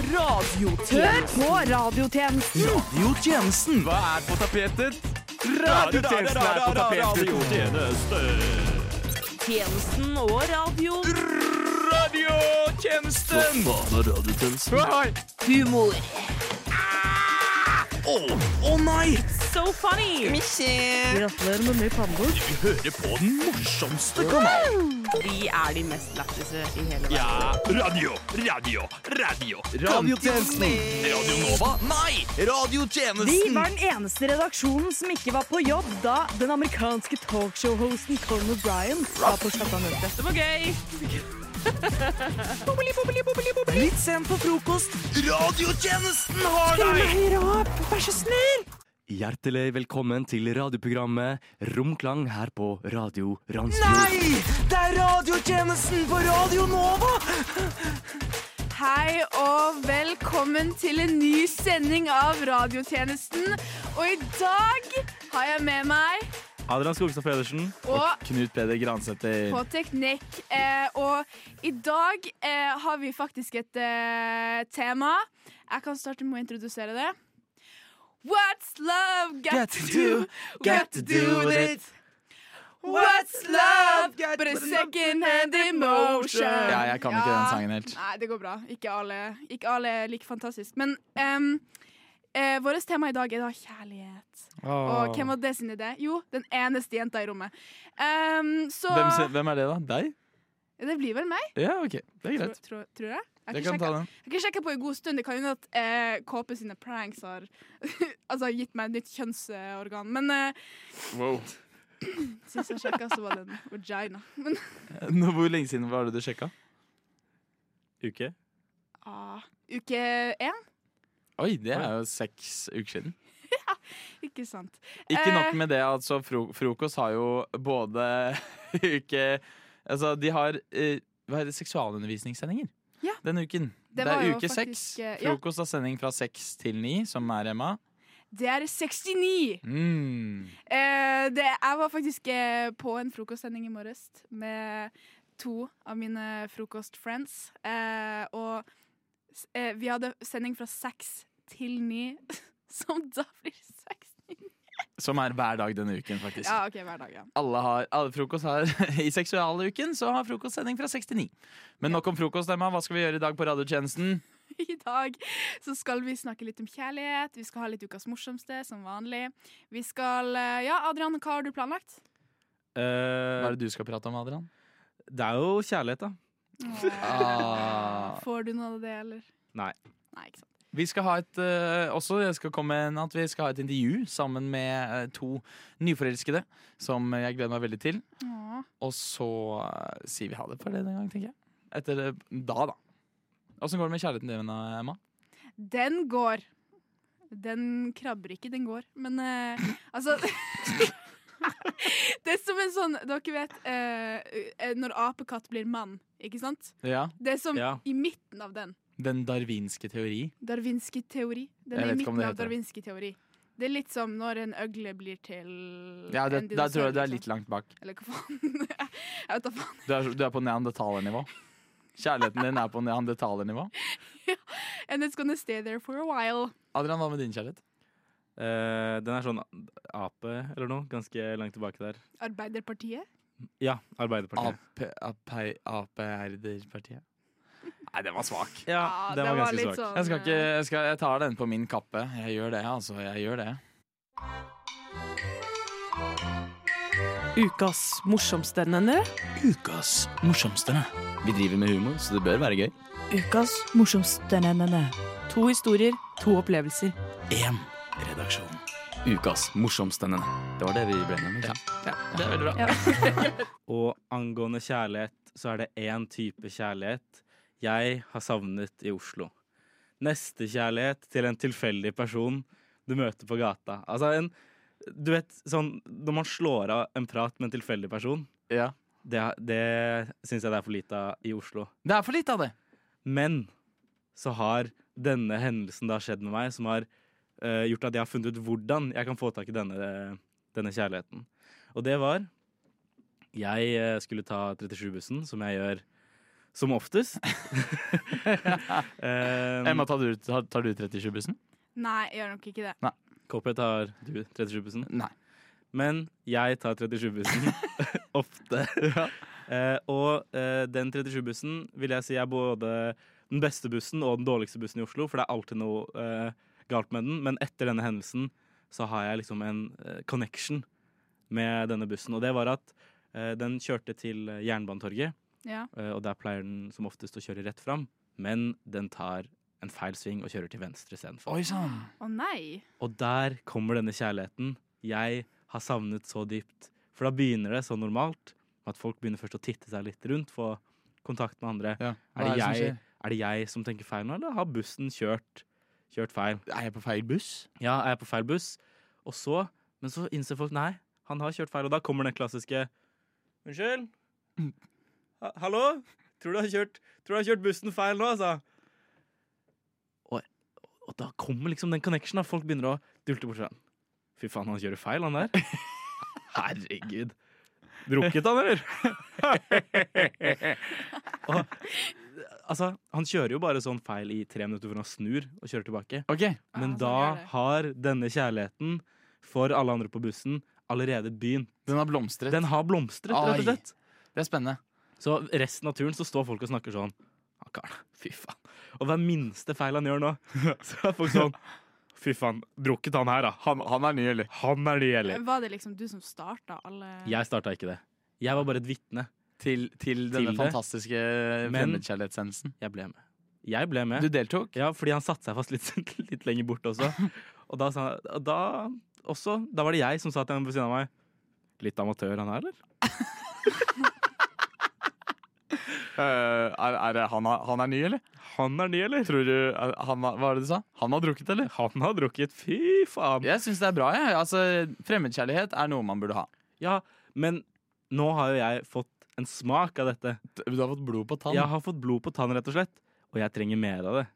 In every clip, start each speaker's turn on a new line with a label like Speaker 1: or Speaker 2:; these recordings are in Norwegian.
Speaker 1: Radiotør på radiotjenesten.
Speaker 2: Radiotjenesten. Hva er på tapetet? Radiotjenesten er på tapetet.
Speaker 1: Tjenesten og radio.
Speaker 2: Radiotjenesten! Hva faen er radiotjenesten? Å
Speaker 1: Humor.
Speaker 2: å nei!
Speaker 1: So funny. Gratulerer med ny pannebok.
Speaker 2: Vi hører på den morsomste kanalen.
Speaker 1: Vi er de mest lættise i hele verden.
Speaker 2: Ja, radio, radio, radio. Radiotjenesten. Radio Nova? Nei,
Speaker 3: Vi var
Speaker 2: radiotjenesten.
Speaker 3: den eneste redaksjonen som ikke var på jobb da den amerikanske talkshow-hosten Colin O'Brien var på Chattanutte.
Speaker 1: Det var gøy.
Speaker 2: Litt sent på frokost. Radiotjenesten har deg!
Speaker 3: høyere opp, vær så snill!
Speaker 4: Hjertelig velkommen til radioprogrammet Romklang her på Radio Randsfjord.
Speaker 2: Nei! Det er radiotjenesten på Radio Nova!
Speaker 5: Hei og velkommen til en ny sending av Radiotjenesten. Og i dag har jeg med meg
Speaker 6: Adrian Skogstad Pedersen
Speaker 5: og
Speaker 6: Knut Peder Gransæter.
Speaker 5: på teknikk. Eh, og i dag eh, har vi faktisk et eh, tema. Jeg kan starte med å introdusere det. What's love got, to do? Got to do with it. What's love but a second-hand emotion?
Speaker 6: Ja, jeg kan ikke
Speaker 5: Ja.
Speaker 6: den sangen helt.
Speaker 5: Nei, det går bra. Ikke alle, ikke alle er like fantastisk. Men um, eh, vårt tema i dag er da kjærlighet. Og hvem var det sin idé? Jo, den eneste jenta i rommet. Em, så
Speaker 6: hvem, se- hvem er det, da? Deg?
Speaker 5: Det blir vel meg,
Speaker 6: Ja, OK. Det er
Speaker 5: tror,
Speaker 6: greit.
Speaker 5: tror, tror jeg. Jeg
Speaker 6: Jeg
Speaker 5: har ikke
Speaker 6: kan ta
Speaker 5: sjekket-
Speaker 6: den.
Speaker 5: jeg har ikke sjekka på en god stund. Det kan hende at eh, KP sine pranks har altså, gitt meg et nytt kjønnsorgan. Men eh, sist jeg sjekka, så var det en vagina. Men
Speaker 6: Nå, hvor lenge siden var det du sjekka?
Speaker 4: Uke?
Speaker 5: ah, uke én?
Speaker 6: Oi, det er jo seks uker siden.
Speaker 5: Ikke sant.
Speaker 6: Ikke
Speaker 5: Eh.
Speaker 6: nok med det, altså. Fro frokost har jo både uke Altså, de har eh, hva er det, seksualundervisningssendinger
Speaker 5: Ja.
Speaker 6: denne uken.
Speaker 5: Det
Speaker 6: Det,
Speaker 5: var
Speaker 6: er
Speaker 5: jo
Speaker 6: uke seks.
Speaker 5: faktisk, eh, ja.
Speaker 6: Frokost har sending fra seks til ni, som er Emma.
Speaker 5: Det er 69!
Speaker 6: Mm.
Speaker 5: Eh, det, jeg var faktisk eh, på en frokostsending i morges med to av mine frokostfriends. Eh, og s- eh, vi hadde sending fra seks til ni, som da blir seks.
Speaker 6: Som er hver dag denne uken, faktisk.
Speaker 5: Ja, OK, hver dag, ja.
Speaker 6: alle har, alle frokost har I seksualuken så har frokostsending fra 6 til 9. Men nok om frokost, Emma. Hva skal vi gjøre i dag på radiotjenesten?
Speaker 5: I dag så skal vi snakke litt om kjærlighet. Vi skal ha litt ukas morsomste, som vanlig. Vi skal eh, Ja, Adrian, hva har du planlagt?
Speaker 6: Hva
Speaker 4: Eh,
Speaker 6: er det du skal prate om, Adrian?
Speaker 4: det er jo kjærlighet, da.
Speaker 6: Ah.
Speaker 5: Får du noe av det, eller?
Speaker 4: Nei.
Speaker 5: Nei, ikke sant.
Speaker 6: Vi skal ha et eh, også jeg skal komme med en at vi skal ha et intervju sammen med eh, to nyforelskede. Som jeg gleder meg veldig til.
Speaker 5: Åh.
Speaker 6: Og så eh, sier vi ha det for det den gang, tenker jeg. Etter eh, da, da. Åssen går det med kjærligheten din, eh, Emma?
Speaker 5: Den går. Den krabber ikke, den går. Men eh, altså Det er som en sånn Dere vet eh, eh, når apekatt blir mann, ikke sant?
Speaker 6: Ja,
Speaker 5: Det er som
Speaker 4: Ja.
Speaker 5: i midten av den.
Speaker 6: Den darwinske teori.
Speaker 5: Darwinski teori. Den
Speaker 6: Jeg
Speaker 5: er i
Speaker 6: vet ikke om
Speaker 5: midten
Speaker 6: det
Speaker 5: av
Speaker 6: heter.
Speaker 5: Darwinski teori. Det er litt som når en øgle blir til
Speaker 6: Ja, det,
Speaker 5: en
Speaker 6: Der tror
Speaker 5: dinosaur,
Speaker 6: jeg du er
Speaker 5: liksom.
Speaker 6: litt langt bak.
Speaker 5: Eller hva faen. Jeg vet da faen.
Speaker 6: Du er, du er på neandertalernivå. Kjærligheten din er på neandertalernivå.
Speaker 5: And it's gonna stay there for a while.
Speaker 6: Adrian, hva med din kjærlighet?
Speaker 4: Eh, den er sånn ape eller noe. Ganske langt tilbake der.
Speaker 5: Arbeiderpartiet.
Speaker 4: Ja, Arbeiderpartiet.
Speaker 6: Ap- Ap- Ap-erderpartiet. Nei, den var svak.
Speaker 4: Ja,
Speaker 5: Ah,
Speaker 4: den var ganske
Speaker 5: litt
Speaker 4: svak.
Speaker 5: sånn,
Speaker 6: Jeg, skal ikke,
Speaker 5: eh,
Speaker 6: jeg, skal, jeg tar den på min kappe. Jeg gjør det, altså. Jeg gjør det.
Speaker 7: Ukas morsomstendende.
Speaker 6: Ukas morsomstene.
Speaker 4: Vi driver med humor, så det bør være gøy.
Speaker 7: Ukas morsomstendende. To historier, to opplevelser.
Speaker 6: Én redaksjon.
Speaker 4: Ukas morsomstendende. Det var det vi ble med. Ja.
Speaker 6: Det er veldig bra.
Speaker 4: Og angående kjærlighet, så er det én type kjærlighet jeg har savnet i Oslo. Nestekjærlighet til en tilfeldig person du møter på gata. Altså en Du vet sånn når man slår av en prat med en tilfeldig person,
Speaker 6: Ja.
Speaker 4: det, det syns jeg det er for lite av i Oslo.
Speaker 6: Det er for lite av det.
Speaker 4: Men så har denne hendelsen da skjedd med meg, som har eh, gjort at jeg har funnet ut hvordan jeg kan få tak i denne, denne kjærligheten. Og det var Jeg eh, skulle ta 37-bussen, som jeg gjør Som oftest. um,
Speaker 6: Emma, tar du, tar, tar du 37-bussen?
Speaker 5: Nei, jeg gjør nok ikke det.
Speaker 4: KP tar du 37-bussen.
Speaker 6: Nei.
Speaker 4: Men jeg tar 37-bussen ofte. Eh, og eh, den 37-bussen vil jeg si er både den beste bussen og den dårligste bussen i Oslo, for det er alltid noe eh, galt med den. Men etter denne hendelsen så har jeg liksom en eh, connection med denne bussen, og det var at eh, den kjørte til eh, Jernbanetorget.
Speaker 5: Ja.
Speaker 4: Eh, Og der pleier den som oftest å kjøre rett fram, men den tar en feil sving og kjører til venstre istedenfor.
Speaker 6: Oi sann.
Speaker 5: Å nei.
Speaker 4: Og der kommer denne kjærligheten jeg har savnet så dypt. For da begynner det så normalt at folk begynner først å titte seg litt rundt, få kontakt med andre.
Speaker 6: Ja.
Speaker 4: Er
Speaker 6: Hva
Speaker 4: det,
Speaker 6: som
Speaker 4: jeg,
Speaker 6: skjer?
Speaker 4: er det jeg som tenker feil nå, eller har bussen kjørt, kjørt feil?
Speaker 6: Er jeg på feil buss?
Speaker 4: Ja, er jeg på feil buss? Og så, men så innser folk nei, han har kjørt feil, og da kommer den klassiske Unnskyld? Ha Hallo? Tror du, har kjørt, tror du har kjørt bussen feil nå, altså? Og, og da kommer liksom den connection, da. Folk begynner å dulte bort sånn. Fy faen, han kjører feil, han der. Herregud. Drukket han, eller? og, altså, han kjører jo bare sånn feil i tre minutter før han snur og kjører tilbake.
Speaker 6: Ok,
Speaker 4: Men
Speaker 5: Ah, sånn
Speaker 4: da
Speaker 5: gjør det.
Speaker 4: har denne kjærligheten for alle andre på bussen allerede begynt.
Speaker 6: Den har blomstret.
Speaker 4: Den har blomstret, rett
Speaker 6: Ai.
Speaker 4: og slett.
Speaker 6: Det er spennende.
Speaker 4: Så resten av turen så står folk og snakker sånn Han karen, fy faen. Og hver minste feil han gjør nå, så er folk sånn Fy faen, drukket han her, da.
Speaker 6: Han, er ny, eller?
Speaker 4: Han er det gjelder.
Speaker 5: Var det liksom du som starta alle
Speaker 4: Jeg starta ikke det. Jeg var bare et vitne.
Speaker 6: Til, til denne
Speaker 4: Til det.
Speaker 6: fantastiske
Speaker 4: Men-
Speaker 6: fremmedkjærlighetssendelsen.
Speaker 4: Jeg ble med. Jeg ble med.
Speaker 6: Du deltok?
Speaker 4: Ja, fordi han satte seg fast litt, litt lenger bort også. Og da, sa, og da, også, da var det jeg som sa til han ved siden av meg Litt amatør han er, eller?
Speaker 6: Eh, er, er, det- han, er, han er ny, eller?
Speaker 4: Han er ny, eller?
Speaker 6: Tror du, er, han, har- hva var det du sa? Han har drukket, eller?
Speaker 4: Han har drukket, fy faen.
Speaker 6: Jeg syns det er bra. Jeg. Altså, fremmedkjærlighet er noe man burde ha.
Speaker 4: Ja, men nå har jo jeg fått en smak av dette.
Speaker 6: Du har fått blod på tann.
Speaker 4: Jeg har fått blod på tann, rett og slett. Og jeg trenger mer av det.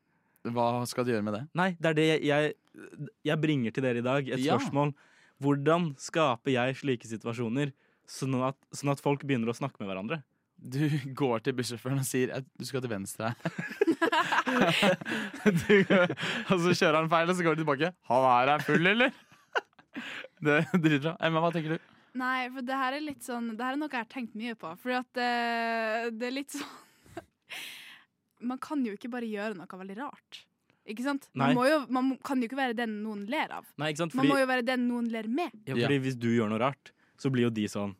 Speaker 6: Hva skal du gjøre med det?
Speaker 4: Nei, det er det jeg, jeg, jeg bringer til dere i dag. Et
Speaker 6: Ja.
Speaker 4: spørsmål. Hvordan skaper jeg slike situasjoner, sånn at, sånn at folk begynner å snakke med hverandre?
Speaker 6: Du går til bussjåføren og sier at du skal til venstre. du, går- og så kjører han feil, og så går du tilbake. Han er her full, eller? Det er dritbra. Emma, hva tenker du?
Speaker 5: Nei, for det her er litt sånn Det her er noe jeg har tenkt mye på. Fordi at eh, det er litt sånn Man kan jo ikke bare gjøre noe veldig rart. Ikke sant? Man,
Speaker 4: Nei.
Speaker 5: må jo, man må- kan jo ikke være den noen ler av.
Speaker 4: Nei, ikke sant?
Speaker 5: Man
Speaker 4: Fordi,
Speaker 5: må jo være den noen ler med.
Speaker 4: ja, fordi hvis du gjør noe rart, så blir jo de sånn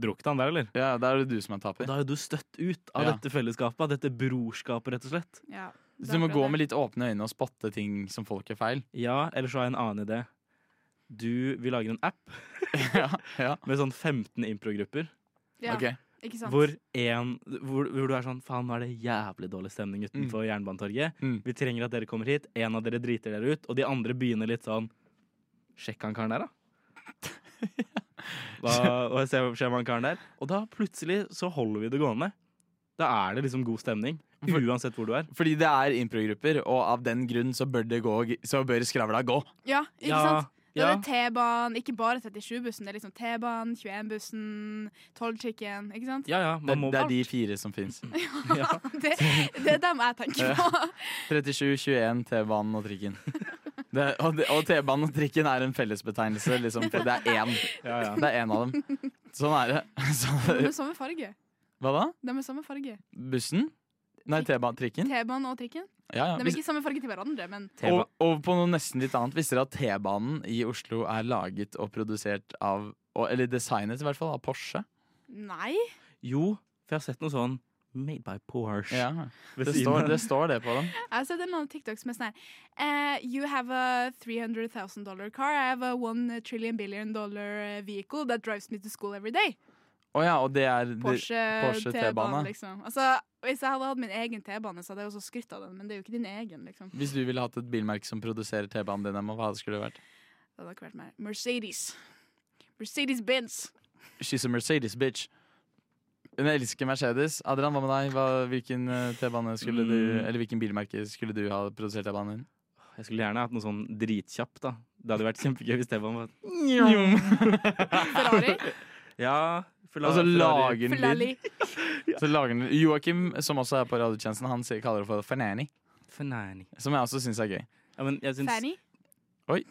Speaker 4: Drukket han der, eller?
Speaker 6: Ja, Da er det du som er taper.
Speaker 4: Da er jo du støtt ut av
Speaker 6: Ja.
Speaker 4: dette fellesskapet, av dette brorskapet, rett og slett.
Speaker 5: Ja,
Speaker 6: Så du må gå med litt åpne øyne og spotte ting som folk gjør feil.
Speaker 4: Ja, eller så har jeg en annen idé. Du, vi lager en app
Speaker 6: ja, ja.
Speaker 4: med sånn 15 improgrupper.
Speaker 5: ja,
Speaker 6: Ok.
Speaker 5: Ikke sant?
Speaker 4: Hvor, en, hvor, hvor du er sånn Faen, nå er det jævlig dårlig stemning utenfor Jernbanetorget.
Speaker 6: Mm.
Speaker 4: Vi trenger at dere kommer hit. En av dere driter dere ut, og de andre begynner litt sånn Sjekk han karen der, da. Hva, og se hva skjer med han karen der. Og da plutselig så holder vi det gående. Da er det liksom god stemning. Uansett hvor du er.
Speaker 6: Fordi det er improgrupper, og av den grunn så bør, det gå, så bør skravla gå.
Speaker 5: Ja, ikke
Speaker 4: Ja,
Speaker 5: sant? Da
Speaker 4: ja.
Speaker 5: er det T-banen, ikke bare 37-bussen. Det er liksom T-banen, 21-bussen, 12-chicken. Ikke sant?
Speaker 4: Ja, ja,
Speaker 6: Det,
Speaker 4: man må,
Speaker 6: det er de fire som fins.
Speaker 4: ja.
Speaker 5: Det, det er dem jeg tenker på.
Speaker 6: 37, 21, T-banen og trikken. Det, og det- og T-banen og trikken er en fellesbetegnelse. Liksom, for det er én.
Speaker 4: Ja, ja.
Speaker 6: Det er én av dem. Sånn er det.
Speaker 5: De
Speaker 6: Så,
Speaker 5: er samme farge.
Speaker 6: hva da?
Speaker 5: De er samme farge.
Speaker 6: Bussen? Nei, T-banen. Trikken?
Speaker 5: T-banen og trikken.
Speaker 6: Ja, ja.
Speaker 5: De er
Speaker 6: Hvis-
Speaker 5: ikke samme farge til hverandre, men
Speaker 4: T-ba-
Speaker 6: Og, og på noe nesten litt annet. Visste dere at T-banen i Oslo er laget og produsert av og, Eller designet i hvert fall av Porsche?
Speaker 5: nei.
Speaker 4: Jo, for jeg har sett noe sånn Made by Porsche.
Speaker 6: Ja,
Speaker 4: ved
Speaker 6: det
Speaker 4: siden
Speaker 6: står,
Speaker 4: av.
Speaker 6: det står det på dem.
Speaker 5: Jeg har sett en eller annen TikTok som er sånn her eh, You have a 300,000 dollar car. I have a 1 trillion billion dollar eh, vehicle that drives me to school every day.
Speaker 6: Å ja, og det er det-
Speaker 5: Porsche,
Speaker 6: Porsche T-bane.
Speaker 5: T-bane, liksom. Altså, hvis jeg hadde hatt min egen T-bane, så hadde jeg også skrytt av den, men det er jo ikke din egen, liksom.
Speaker 6: Hvis du ville hatt et bilmerke som produserer T-banen din, Emma, hva skulle det vært?
Speaker 5: Det hadde ikke vært mer. Mercedes. Mercedes Benz.
Speaker 6: She's a Mercedes, bitch. Hun elsker Mercedes. Adrian, hva med deg? Hva, hvilken eh, T-bane skulle du
Speaker 4: Mm.
Speaker 6: Eller hvilken bilmerke skulle du ha produsert T-banen din?
Speaker 4: Jeg skulle gjerne hatt noe sånn dritkjapt, da. Det hadde vært kjempegøy hvis det var
Speaker 5: Ferrari.
Speaker 4: Ja, Ferla-
Speaker 6: Og så
Speaker 4: Ferrari.
Speaker 6: lager den lyd. Så lager den- Joakim, som også er på radiotjenesten, han sier- kaller det for fanani.
Speaker 4: Fanani.
Speaker 6: Som jeg også syns er gøy.
Speaker 4: Ja, men jeg syns
Speaker 5: Fanny.
Speaker 6: Oi,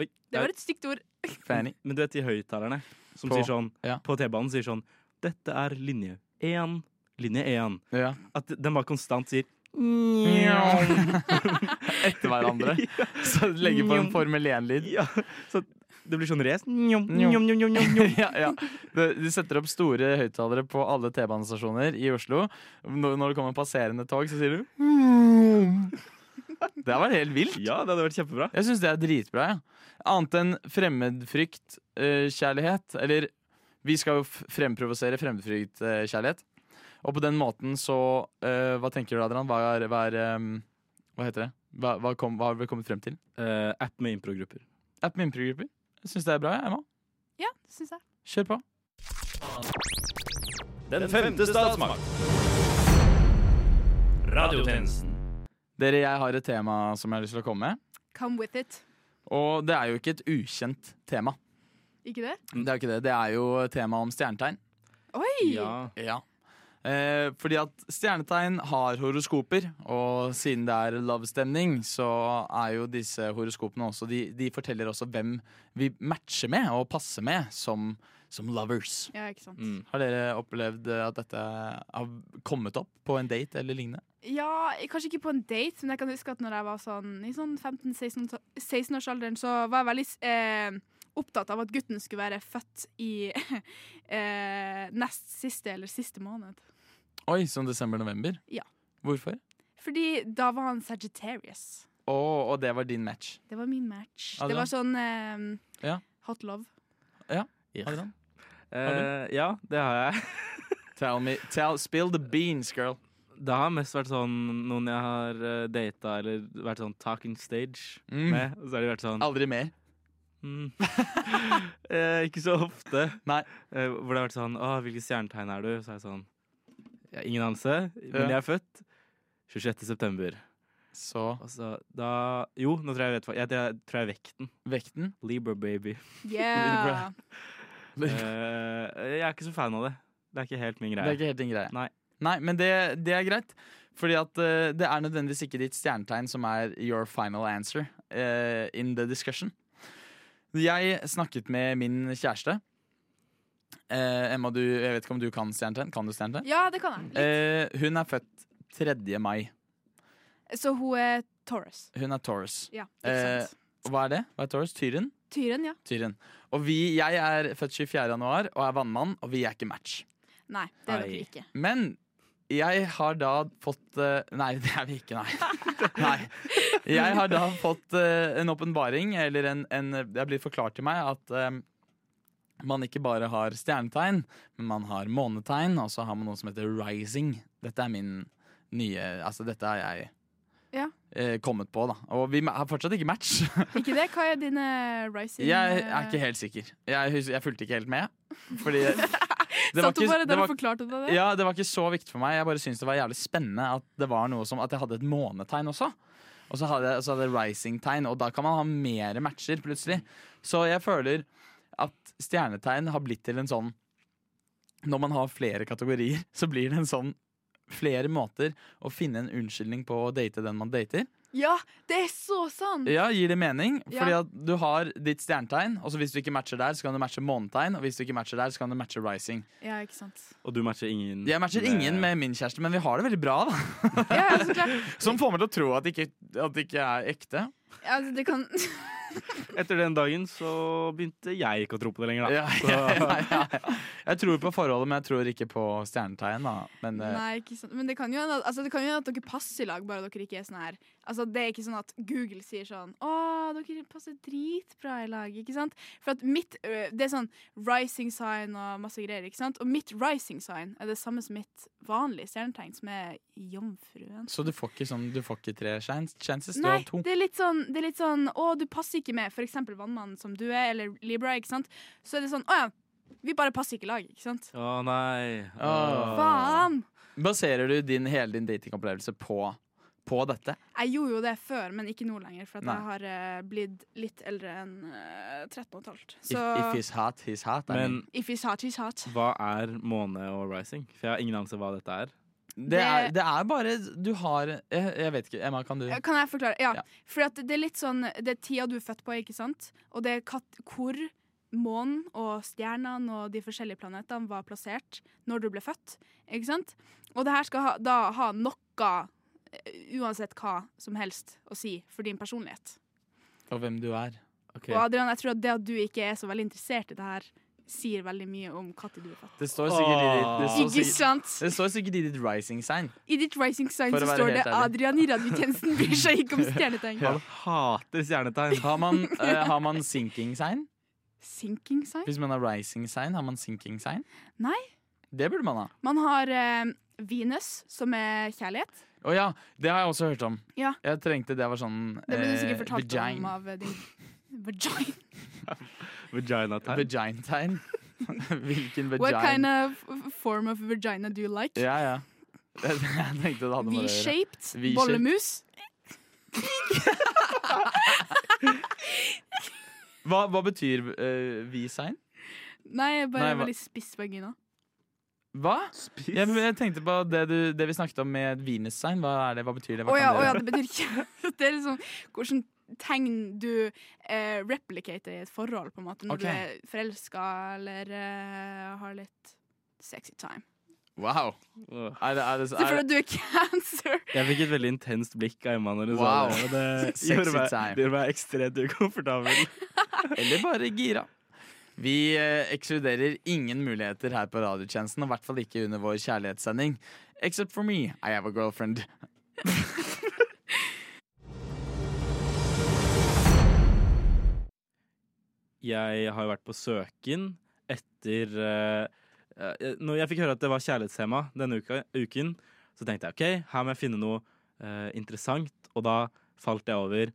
Speaker 4: Oi,
Speaker 5: Det var et stygt ord.
Speaker 6: fanny.
Speaker 4: Men du vet de høyttalerne som
Speaker 6: På-
Speaker 4: sier sånn
Speaker 6: ja.
Speaker 4: på T-banen sier sånn Dette er linje én. Linje én.
Speaker 6: Ja.
Speaker 4: At den bare konstant sier
Speaker 6: Etter hverandre. Så legger på en Formel 1-lyd.
Speaker 4: ja, Så det blir sånn race. Njom,
Speaker 6: Njom.
Speaker 4: njom, njom, njom, njom.
Speaker 6: Ja, ja. De, de setter opp store høyttalere på alle T-banestasjoner i Oslo. Når, når det kommer passerende tog, så sier du Det var helt vilt.
Speaker 4: Ja, det hadde vært kjempebra.
Speaker 6: Jeg syns det er dritbra. Ja. Annet enn fremmedfrykt, eh, kjærlighet Eller vi skal jo f- fremprovosere fremmedfrykt, eh, kjærlighet. Og på den måten så eh, Hva tenker du, Adrian? Hva, er, hva, er, eh, hva heter det? Hva, hva, kom, hva har vi kommet frem til?
Speaker 4: Eh, app med improgrupper.
Speaker 6: App med improgrupper. Jeg syns det er bra, jeg, Emma.
Speaker 5: Ja, syns jeg.
Speaker 6: Kjør på.
Speaker 2: Den femte statsmakt. Radiotjenesten.
Speaker 6: Dere, jeg har et tema som jeg har lyst til å komme med.
Speaker 5: Come with it.
Speaker 6: Og det er jo ikke et ukjent tema.
Speaker 5: Ikke det?
Speaker 6: Det er jo ikke det. Det er jo tema om stjernetegn.
Speaker 5: Oi!
Speaker 4: Ja.
Speaker 6: Ja. Eh, fordi at stjernetegn har horoskoper, og siden det er love-stemning, så er jo disse horoskopene også de, de forteller også hvem vi matcher med og passer med som, som lovers.
Speaker 5: Ja, ikke sant.
Speaker 4: Mm.
Speaker 6: Har dere opplevd eh, at dette har kommet opp på en date eller lignende?
Speaker 5: Ja, kanskje ikke på en date, men jeg kan huske at når jeg var sånn i sånn 15-16-årsalderen, så var jeg veldig eh, opptatt av at gutten skulle være født i eh, nest siste eller siste måned.
Speaker 6: Oi, som desember-november?
Speaker 5: Ja.
Speaker 6: Hvorfor?
Speaker 5: Fordi da var han Sagittarius.
Speaker 6: Å, og det var din match.
Speaker 5: Det var min match.
Speaker 6: Ja,
Speaker 5: Det
Speaker 6: da.
Speaker 5: var sånn eh,
Speaker 6: Ja.
Speaker 5: hot love.
Speaker 6: Adrian?
Speaker 4: Eh, ja, det har jeg.
Speaker 6: Tell me, tell, spill the beans, girl.
Speaker 4: Det har mest vært sånn noen jeg har eh, data eller vært sånn talking stage
Speaker 6: Mm.
Speaker 4: med. Og så har de vært sånn
Speaker 6: Aldri mer.
Speaker 4: mm. eh, Ikke så ofte.
Speaker 6: Nei.
Speaker 4: Eh, hvor det har vært sånn Å, hvilket stjernetegn er du? Så er jeg sånn «Jeg har Ingen anelse, men jeg er født 26. september.
Speaker 6: Så
Speaker 4: Og så da Jo, nå tror jeg jeg vet hva Jeg, jeg tror jeg er vekten.
Speaker 6: vekten
Speaker 4: Libra baby.
Speaker 5: Yeah!
Speaker 4: Eh, jeg er ikke så fan av det. Det er ikke helt min
Speaker 6: Det er
Speaker 4: greie.
Speaker 6: ikke helt din greie.
Speaker 4: Nei.
Speaker 6: men det, det er greit. Fordi at eh, det er nødvendigvis ikke ditt stjernetegn som er your final answer eh, in the discussion. Jeg snakket med min kjæreste. Eh, Emma, du, jeg vet ikke om du kan stjernetegn? Kan du stjernetegn?
Speaker 5: Ja, det kan jeg.
Speaker 6: Eh, hun er født 3. mai. Eh.
Speaker 5: Så hun er Taurus.
Speaker 6: Hun er Taurus.
Speaker 5: Ja, ikke
Speaker 6: Eh.
Speaker 5: sant.
Speaker 6: Og hva er det? Hva er Taurus? Tyren?
Speaker 5: Tyren, ja.
Speaker 6: Tyren. Og vi, jeg er født 24. januar og er vannmann, og vi er ikke match.
Speaker 5: Nei, det er dere
Speaker 4: Ai.
Speaker 5: ikke.
Speaker 6: Men jeg har da fått eh, Nei, det er vi ikke, nei. nei. Jeg har da fått eh, en åpenbaring, eller en, en Det blir forklart til meg at eh, man ikke bare har stjernetegn, men man har månetegn, og så har man noe som heter rising. Dette er min nye Altså, dette har jeg
Speaker 5: Ja.
Speaker 6: eh, kommet på, da. Og vi har fortsatt ikke match.
Speaker 5: Ikke det? Hva er dine rising eh,
Speaker 6: Jeg er ikke helt sikker. Jeg, hus- jeg fulgte ikke helt med. Fordi det
Speaker 5: Satt hun bare
Speaker 6: det
Speaker 5: der og
Speaker 6: var-
Speaker 5: forklarte deg det?
Speaker 6: ja, det var ikke så viktig for meg. Jeg bare syntes det var jævlig spennende at det var noe som At jeg hadde et månetegn også. Og så hadde jeg så hadde jeg rising-tegn, og da kan man ha mer matcher plutselig. Så jeg føler at stjernetegn har blitt til en sånn Når man har flere kategorier, så blir det en sånn flere måter å finne en unnskyldning på å date den man dater.
Speaker 5: Ja, det er så sant!
Speaker 6: Ja, gir det mening? Fordi
Speaker 5: Ja.
Speaker 6: at du har ditt stjernetegn, og så hvis du ikke matcher der, så kan du matche månetegn, og hvis du ikke matcher der, så kan du matche rising.
Speaker 5: Ja, ikke sant.
Speaker 4: Og du matcher ingen
Speaker 6: Jeg matcher ingen med min kjæreste, men vi har det veldig bra, da.
Speaker 5: Ja, ja, så klart.
Speaker 6: Som får meg til å tro at det ikke, at det ikke er ekte.
Speaker 5: Ja, altså, det kan
Speaker 4: Etter den dagen så begynte jeg ikke å tro på det lenger, da.
Speaker 6: Ja, ja, ja, ja. Jeg tror på forholdet, men jeg tror ikke på stjernetegn. Da. Men, eh,
Speaker 5: Nei, ikke sant. Men det kan jo hende at, altså, det kan jo hende at dere passer i lag, bare dere ikke er sånn her. Altså, det er ikke sånn at Google sier sånn Å, dere passer dritbra i lag, ikke sant? For at mitt ø, Det er sånn rising sign og masse greier, ikke sant? Og mitt rising sign er det samme som mitt vanlige stjernetegn, som er jomfruen.
Speaker 6: Så du får ikke, sånn, du får ikke tre chans- chances? Du
Speaker 5: Nei,
Speaker 6: har to.
Speaker 5: det er litt sånn, det er litt sånn Å, du passer ikke med f.eks. vannmannen som du er, eller Libra, ikke sant? Så er det sånn Å ja, vi bare passer ikke i lag, ikke sant?
Speaker 4: Å nei.
Speaker 6: Åh.
Speaker 5: Faen!
Speaker 6: Baserer du din, hele din datingopplevelse på på dette?
Speaker 5: Jeg gjorde jo det før, men ikke nå lenger, for at
Speaker 6: Nei.
Speaker 5: jeg har eh, blitt litt eldre enn eh, 13 15.
Speaker 6: If,
Speaker 5: Så
Speaker 6: if he's hot, he's hot. I mean.
Speaker 4: Men
Speaker 5: if he's hot, he's hot.
Speaker 4: hva er måne og rising? For jeg har ingen anelse hva dette er.
Speaker 6: det, er, det er bare Du har jeg, jeg vet ikke. Emma, kan du
Speaker 5: Kan jeg forklare? Ja.
Speaker 6: Ja.
Speaker 5: For at det er litt sånn Det er tida du er født på, ikke sant? Og det er kat hvor månen og stjernene og de forskjellige planetene var plassert når du ble født. Ikke sant? Og det her skal ha, da ha noe, eh, uansett hva som helst, å si for din personlighet.
Speaker 6: Og hvem du er.
Speaker 4: Ok.
Speaker 5: Og Adrian, jeg tror at det at du ikke er så veldig interessert i det her, sier veldig mye om når du er født.
Speaker 6: Det står sikkert i ditt, det står
Speaker 5: Ikke
Speaker 6: sikkert,
Speaker 5: sant?
Speaker 6: det står sikkert i ditt rising sign.
Speaker 5: I ditt Rising Sign
Speaker 6: For å
Speaker 5: så
Speaker 6: være
Speaker 5: står det
Speaker 6: helt ærlig.
Speaker 5: Adrian i radiotjenesten bryr seg ikke om stjernetegn.
Speaker 6: Ja.
Speaker 4: Han hater stjernetegn.
Speaker 6: Har man, eh, har man sinking sign?
Speaker 5: Sinking sign?
Speaker 6: Hvis man har rising sign, har man sinking sign?
Speaker 5: Nei.
Speaker 6: Det burde man ha.
Speaker 5: Man har eh, Venus, som er kjærlighet.
Speaker 6: Å ja, det har jeg også hørt om.
Speaker 5: Ja.
Speaker 6: Jeg trengte det var sånn
Speaker 5: Det ble du sikkert
Speaker 6: eh,
Speaker 5: fortalt
Speaker 6: vagin-
Speaker 5: om av eh, din Vagina.
Speaker 4: Vaginategn.
Speaker 6: Vagin-tegn. Hvilken vagin?
Speaker 5: What kind of form of vagina do you like?
Speaker 6: Ja, ja. Jeg tenkte det hadde med det å gjøre.
Speaker 5: V-shaped?
Speaker 6: V-shaped.
Speaker 5: Bollemus?
Speaker 6: Hva, hva betyr eh, V-sign?
Speaker 5: Nei, bare
Speaker 6: Nei, hva-
Speaker 5: veldig spiss vagina.
Speaker 6: Hva? Jeg, jeg tenkte på det, du, det vi snakket om med Venus-sign. Hva, er det, hva betyr det?
Speaker 5: Å
Speaker 6: Hva
Speaker 5: ja,
Speaker 6: kan
Speaker 5: å ja,
Speaker 6: det
Speaker 5: det betyr ikke Det er liksom hvordan tegn du eh, replicater i et forhold, på en måte, når
Speaker 6: Ok.
Speaker 5: du er forelska eller eh, har litt sexy time.
Speaker 6: gjøre? Wow.
Speaker 4: Åh.
Speaker 6: Er det, er det,
Speaker 5: Så
Speaker 6: er
Speaker 5: for
Speaker 6: det,
Speaker 5: at du er cancer
Speaker 4: Jeg fikk et veldig intenst blikk av Emma når hun sa det.
Speaker 6: Wow.
Speaker 4: Og det
Speaker 6: Sexy
Speaker 4: gjorde meg,
Speaker 6: time.
Speaker 4: det gjorde meg ekstremt ukomfortabel.
Speaker 6: eller bare gira? Vi eh, ekskluderer ingen muligheter her på radiotjenesten, og i hvert fall ikke under vår kjærlighetssending. Except for me, I have a girlfriend.
Speaker 4: Jeg har jo vært på søken etter eh, eh, Når jeg fikk høre at det var kjærlighetstema denne uka, uken, så tenkte jeg OK, her må jeg finne noe eh, interessant. Og da falt jeg over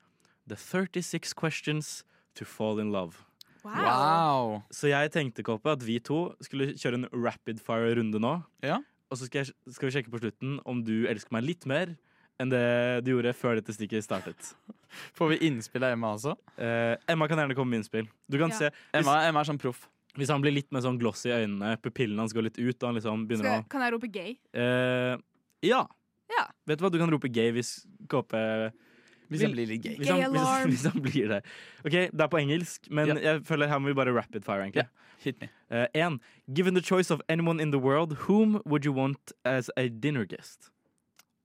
Speaker 4: The 36 Questions to Fall in Love.
Speaker 6: Wow.
Speaker 4: Så jeg tenkte, Kåpe, at vi to skulle kjøre en rapid fire-runde nå.
Speaker 6: Ja.
Speaker 4: Og så skal, jeg, skal vi sjekke på slutten om du elsker meg litt mer enn det du gjorde før dette stikket startet.
Speaker 6: Får vi innspill av Emma også?
Speaker 4: Eh, Emma kan gjerne komme med innspill. Du kan
Speaker 5: Ja.
Speaker 4: se, hvis,
Speaker 6: Emma, Emma er sånn proff.
Speaker 4: hvis han blir litt mer sånn gloss i øynene, pupillene hans går litt ut, og han liksom begynner
Speaker 5: Skal, Kan jeg rope gay?
Speaker 4: å eh, ja.
Speaker 5: Ja.
Speaker 4: Vet du hva, du kan rope gay hvis KP
Speaker 6: Hvis
Speaker 4: Vil-
Speaker 6: jeg blir litt gay.
Speaker 4: hvis han,
Speaker 5: Gay
Speaker 4: hvis,
Speaker 5: alarm.
Speaker 4: hvis han blir det. OK, det er på engelsk, men
Speaker 6: Ja.
Speaker 4: jeg føler her må vi bare rapid fire, egentlig.
Speaker 6: Ja. Hit me.
Speaker 4: Eh, En, Given the choice of anyone in the world, whom would you want as a dinner guest?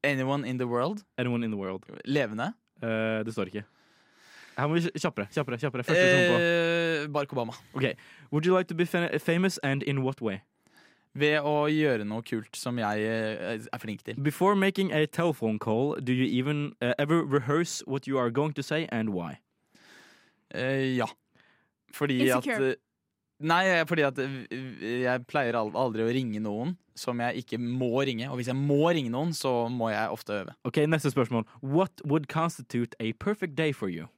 Speaker 6: Anyone in the world?
Speaker 4: Anyone in the world.
Speaker 6: Levende?
Speaker 4: Eh, det står ikke. Her må vi kj- kjappere. kjappere, kjappere. Første som kommer
Speaker 6: Eh, Barack Obama. Eh.
Speaker 4: på. Would you like to be fa famous and in what way?
Speaker 6: Ved å gjøre noe kult som jeg eh, er flink til.
Speaker 4: Before making a telephone call, do you even eh, ever rehearse what you are going to say and why?
Speaker 6: Eh, ja. Fordi at
Speaker 5: Insecure.
Speaker 6: eh, Nei, eh, fordi at eh, jeg pleier al- aldri å ringe noen som jeg ikke må ringe. Og hvis jeg må ringe noen, så må jeg ofte øve.
Speaker 4: Ok, Neste spørsmål. What would constitute a perfect day for you?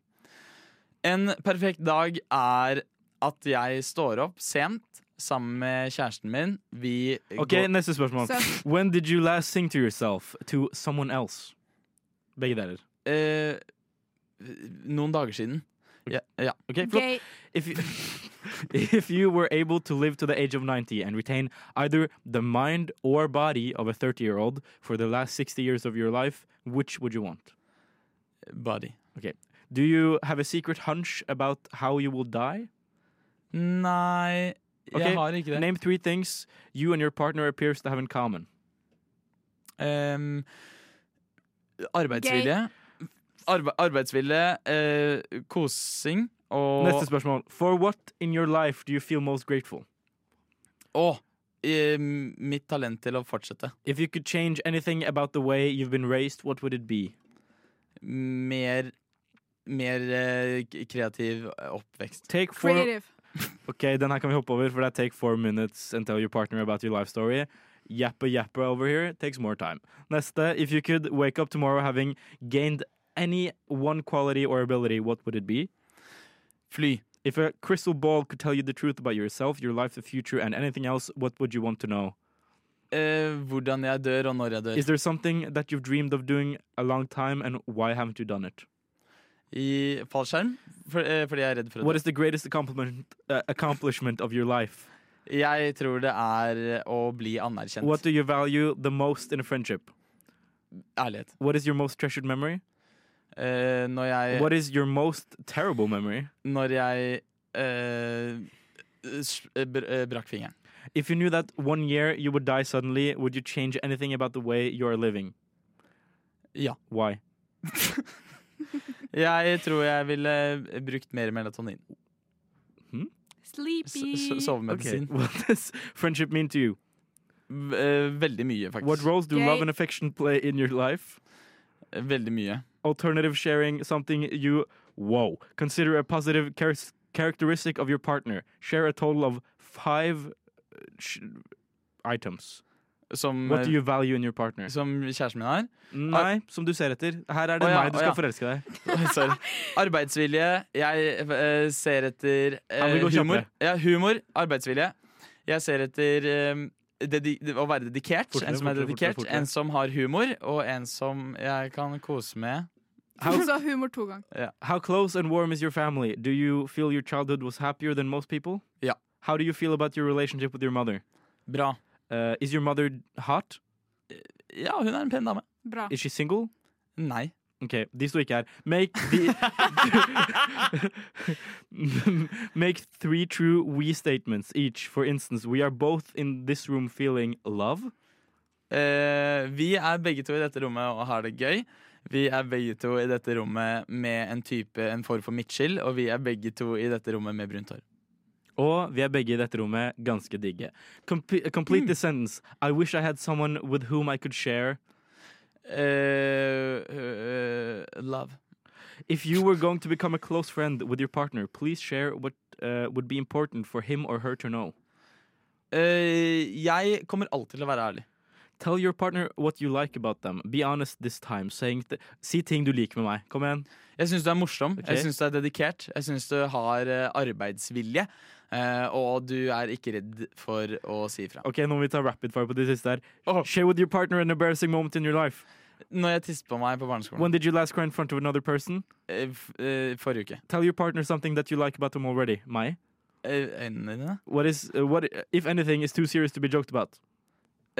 Speaker 6: En perfekt dag er at jeg står opp sent sammen med kjæresten min. Vi
Speaker 4: Ok, Neste spørsmål.
Speaker 5: Så
Speaker 4: When did you last sing to yourself? To someone else? Begge deler.
Speaker 6: går eh, Noen dager siden. Ja, ja.
Speaker 4: Ok, flott.
Speaker 5: gay
Speaker 4: If you, if you were able to live to the age of 90 and retain either the mind or body of a 30 year old for the last 60 years of your life, which would you want?
Speaker 6: Buddy.
Speaker 4: Do you have a secret hunch about how you will die?
Speaker 6: Nei,
Speaker 4: Ok,
Speaker 6: jeg har ikke det.
Speaker 4: Name three things you and your partner appears to have in common.
Speaker 6: Ehm, arbeidsvilje. Arbe arbeidsvilje, eh, kosing og
Speaker 4: Neste spørsmål. For what in your life do you feel most grateful?
Speaker 6: Å, eh, mitt talent til å fortsette.
Speaker 4: If you could change anything about the way you've been raised, what would it be?
Speaker 6: Mer Mer eh, k- kreativ oppvekst.
Speaker 4: Take four
Speaker 5: creative.
Speaker 4: Ok, den her kan vi hoppe over, for det er take four minutes and tell your partner about your life story. Yappa yappa over here takes more time. Neste. If you could wake up tomorrow having gained any one quality or ability, what would it be?
Speaker 6: Fly.
Speaker 4: If a crystal ball could tell you the truth about yourself, your life, the future, and anything else, what would you want to know?
Speaker 6: eh, hvordan jeg dør, og når jeg dør.
Speaker 4: Is there something that you've dreamed of doing a long time, and why haven't you done it?
Speaker 6: I fallskjerm? For, eh, fordi jeg er redd for å
Speaker 4: What
Speaker 6: dø.
Speaker 4: is the greatest accomplishment, uh, accomplishment of your life?
Speaker 6: Jeg tror det er eh, å bli anerkjent.
Speaker 4: What do you value the most in a friendship?
Speaker 6: Ærlighet.
Speaker 4: What is your most treasured memory?
Speaker 6: Eh, når jeg
Speaker 4: What is your most terrible memory?
Speaker 6: Når jeg eh, s- eh, br eh, brakk fingeren.
Speaker 4: If you knew that one year you would die suddenly, would you change anything about the way you are living?
Speaker 6: Ja.
Speaker 4: Why?
Speaker 6: Jeg tror jeg ville brukt mer melatonin. S-
Speaker 5: Sleepy.
Speaker 6: s-
Speaker 4: Hmm? Okay.
Speaker 6: Sovemedisin.
Speaker 4: What does friendship mean to you?
Speaker 6: V- eh, Veldig mye, faktisk.
Speaker 4: What roles do
Speaker 5: Gay.
Speaker 4: love and affection play in your life?
Speaker 6: Veldig mye.
Speaker 4: Alternative sharing something you whoa consider a positive char- characteristic of your partner. Share a total of five uh, sh- items.
Speaker 6: Som, eh,
Speaker 4: What do you value in your partner?
Speaker 6: som kjæresten min har.
Speaker 4: Nei, som du ser etter. Her er det
Speaker 6: Å ja,
Speaker 4: meg du
Speaker 6: å
Speaker 4: skal
Speaker 6: ja.
Speaker 4: forelske deg.
Speaker 6: Sorry. Arbeidsvilje. Jeg eh, ser etter eh,
Speaker 4: Her må vi gå
Speaker 6: humor.
Speaker 4: kjappere.
Speaker 6: Ja, humor. Arbeidsvilje. Jeg ser etter eh, dedi å være dedikert.
Speaker 4: Fortere,
Speaker 6: en som er
Speaker 4: fortere,
Speaker 6: dedikert,
Speaker 4: fortere, fortere.
Speaker 6: en som har humor, og en som jeg kan kose med.
Speaker 5: Hun sa humor to ganger.
Speaker 4: How close and warm is your family? Do you feel your childhood was happier than most people?
Speaker 6: Ja.
Speaker 4: How do you feel about your relationship with your mother?
Speaker 6: Bra.
Speaker 4: Uh, is your mother hot?
Speaker 6: Ja, hun er en pen dame.
Speaker 5: Bra.
Speaker 4: Is she single?
Speaker 6: Nei.
Speaker 4: Ok, de sto ikke her. Make the Make three true we statements each. For instance, we are both in this room feeling love.
Speaker 6: Eh, vi er begge to i dette rommet og har det gøy. Vi er begge to i dette rommet med en type, en form for midtskill, og vi er begge to i dette rommet med brunt hår.
Speaker 4: Og vi er begge i dette rommet ganske digge. Comp- complete the sentence. I wish I had someone with whom I could share.
Speaker 6: Eh, eh, love.
Speaker 4: If you were going to become a close friend with your partner, please share what uh, would be important for him or her to know.
Speaker 6: Eh, jeg kommer alltid til å være ærlig.
Speaker 4: Tell your partner what you like about them. Be honest this time. Saying th si ting du liker med meg. Kom igjen.
Speaker 6: Jeg syns du er morsom,
Speaker 4: Ok.
Speaker 6: jeg syns du er dedikert, jeg syns du har eh, arbeidsvilje. eh, og du er ikke redd for å si ifra.
Speaker 4: Ok, Nå må vi ta rapid fire på det siste her.
Speaker 6: Åh.
Speaker 4: Share with your partner an embarrassing moment in your life.
Speaker 6: Når jeg tisset på meg på barneskolen
Speaker 4: When did you last cry in front of another person?
Speaker 6: eh, f eh, forrige uke
Speaker 4: Tell your partner something that you like about them already. Meg.
Speaker 6: Eh, Øynene dine?
Speaker 4: What is uh, what if anything is too serious to be joked about?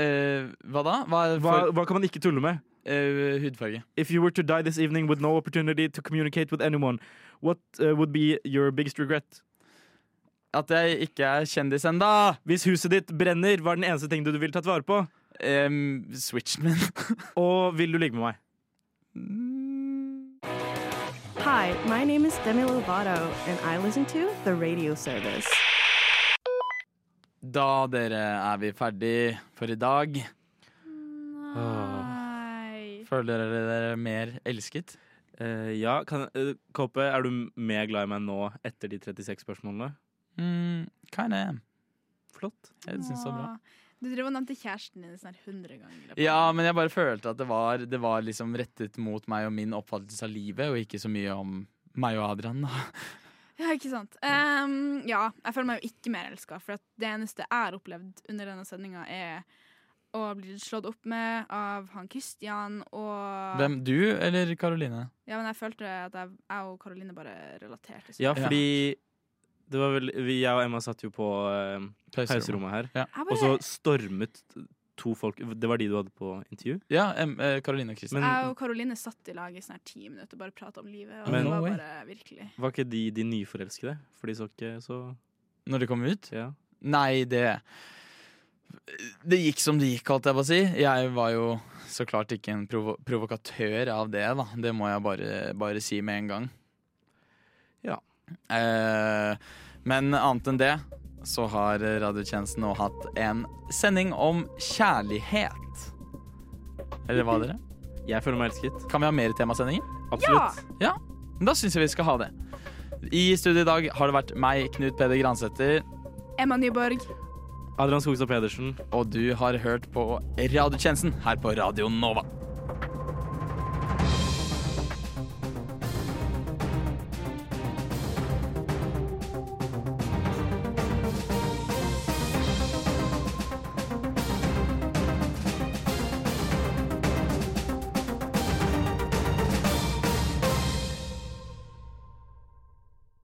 Speaker 6: Eh, hva da? Hva,
Speaker 4: Hva,
Speaker 6: for,
Speaker 4: hva kan man ikke tulle med?
Speaker 6: eh, hudfarge.
Speaker 4: If you were to die this evening with no opportunity to communicate with anyone, what uh, would be your biggest regret?
Speaker 6: At jeg ikke er kjendis ennå!
Speaker 4: Hvis huset ditt brenner, var den eneste ting du ville tatt vare på.
Speaker 6: Um, Switchen min.
Speaker 4: Og vil du ligge med meg?
Speaker 1: Hi, my name is Demi Lovato, and I listen to the radio service.
Speaker 6: da, dere, er vi ferdig for i dag.
Speaker 5: Nei.
Speaker 6: Føler dere dere mer elsket?
Speaker 4: ja, kan, eh, Kåpe, er du mer glad i meg nå etter de 36 spørsmålene?
Speaker 6: Mm, kinda.
Speaker 4: Flott.
Speaker 6: Jeg syns det var bra.
Speaker 5: Åh. Du drev og nevnte kjæresten din sånn her 100 ganger.
Speaker 6: Ja, men jeg bare følte at det var, det var liksom rettet mot meg og min oppfattelse av livet, og ikke så mye om meg og Adrian. da.
Speaker 5: Ja, ikke sant. Ehm, ja, jeg føler meg jo ikke mer elska, for at det eneste jeg har opplevd under denne sendinga, er å bli slått opp med av han Christian og
Speaker 6: Hvem? Du eller Karoline?
Speaker 5: Ja, men jeg følte at jeg, jeg og Karoline bare relaterte.
Speaker 4: Ja, fordi det var vel vi, Jeg og Emma satt jo på eh, pauserommet her,
Speaker 5: Jeg
Speaker 4: og så
Speaker 5: bare,
Speaker 4: stormet to folk Det var de du hadde på intervju?
Speaker 6: Ja, em, eh, Karoline og Kristin.
Speaker 4: Men
Speaker 5: jeg og Karoline satt i lag i sånn her ti minutter og bare prata om livet. Og
Speaker 4: Men-
Speaker 5: det
Speaker 6: No
Speaker 5: var
Speaker 6: way.
Speaker 5: bare virkelig
Speaker 4: var ikke de de nyforelskede? For de så ikke så
Speaker 6: Når det kom ut?
Speaker 4: ja.
Speaker 6: Nei, det Det gikk som det gikk, holdt jeg på å si. Jeg var jo så klart ikke en provo provokatør av det, da. Det må jeg bare, bare si med en gang.
Speaker 4: Ja.
Speaker 6: Eh, men annet enn det så har radiotjenesten nå hatt en sending om kjærlighet. Eller hva, dere?
Speaker 4: Jeg føler meg elsket.
Speaker 6: Kan vi ha mer temasendinger?
Speaker 4: Absolutt.
Speaker 6: Da syns jeg vi skal ha det. I studio i dag har det vært meg, Knut Peder Gransæter,
Speaker 5: Emma Nyborg.
Speaker 4: Adrian Skogstad Pedersen.
Speaker 6: og du har hørt på Radiotjenesten her på Radio Nova.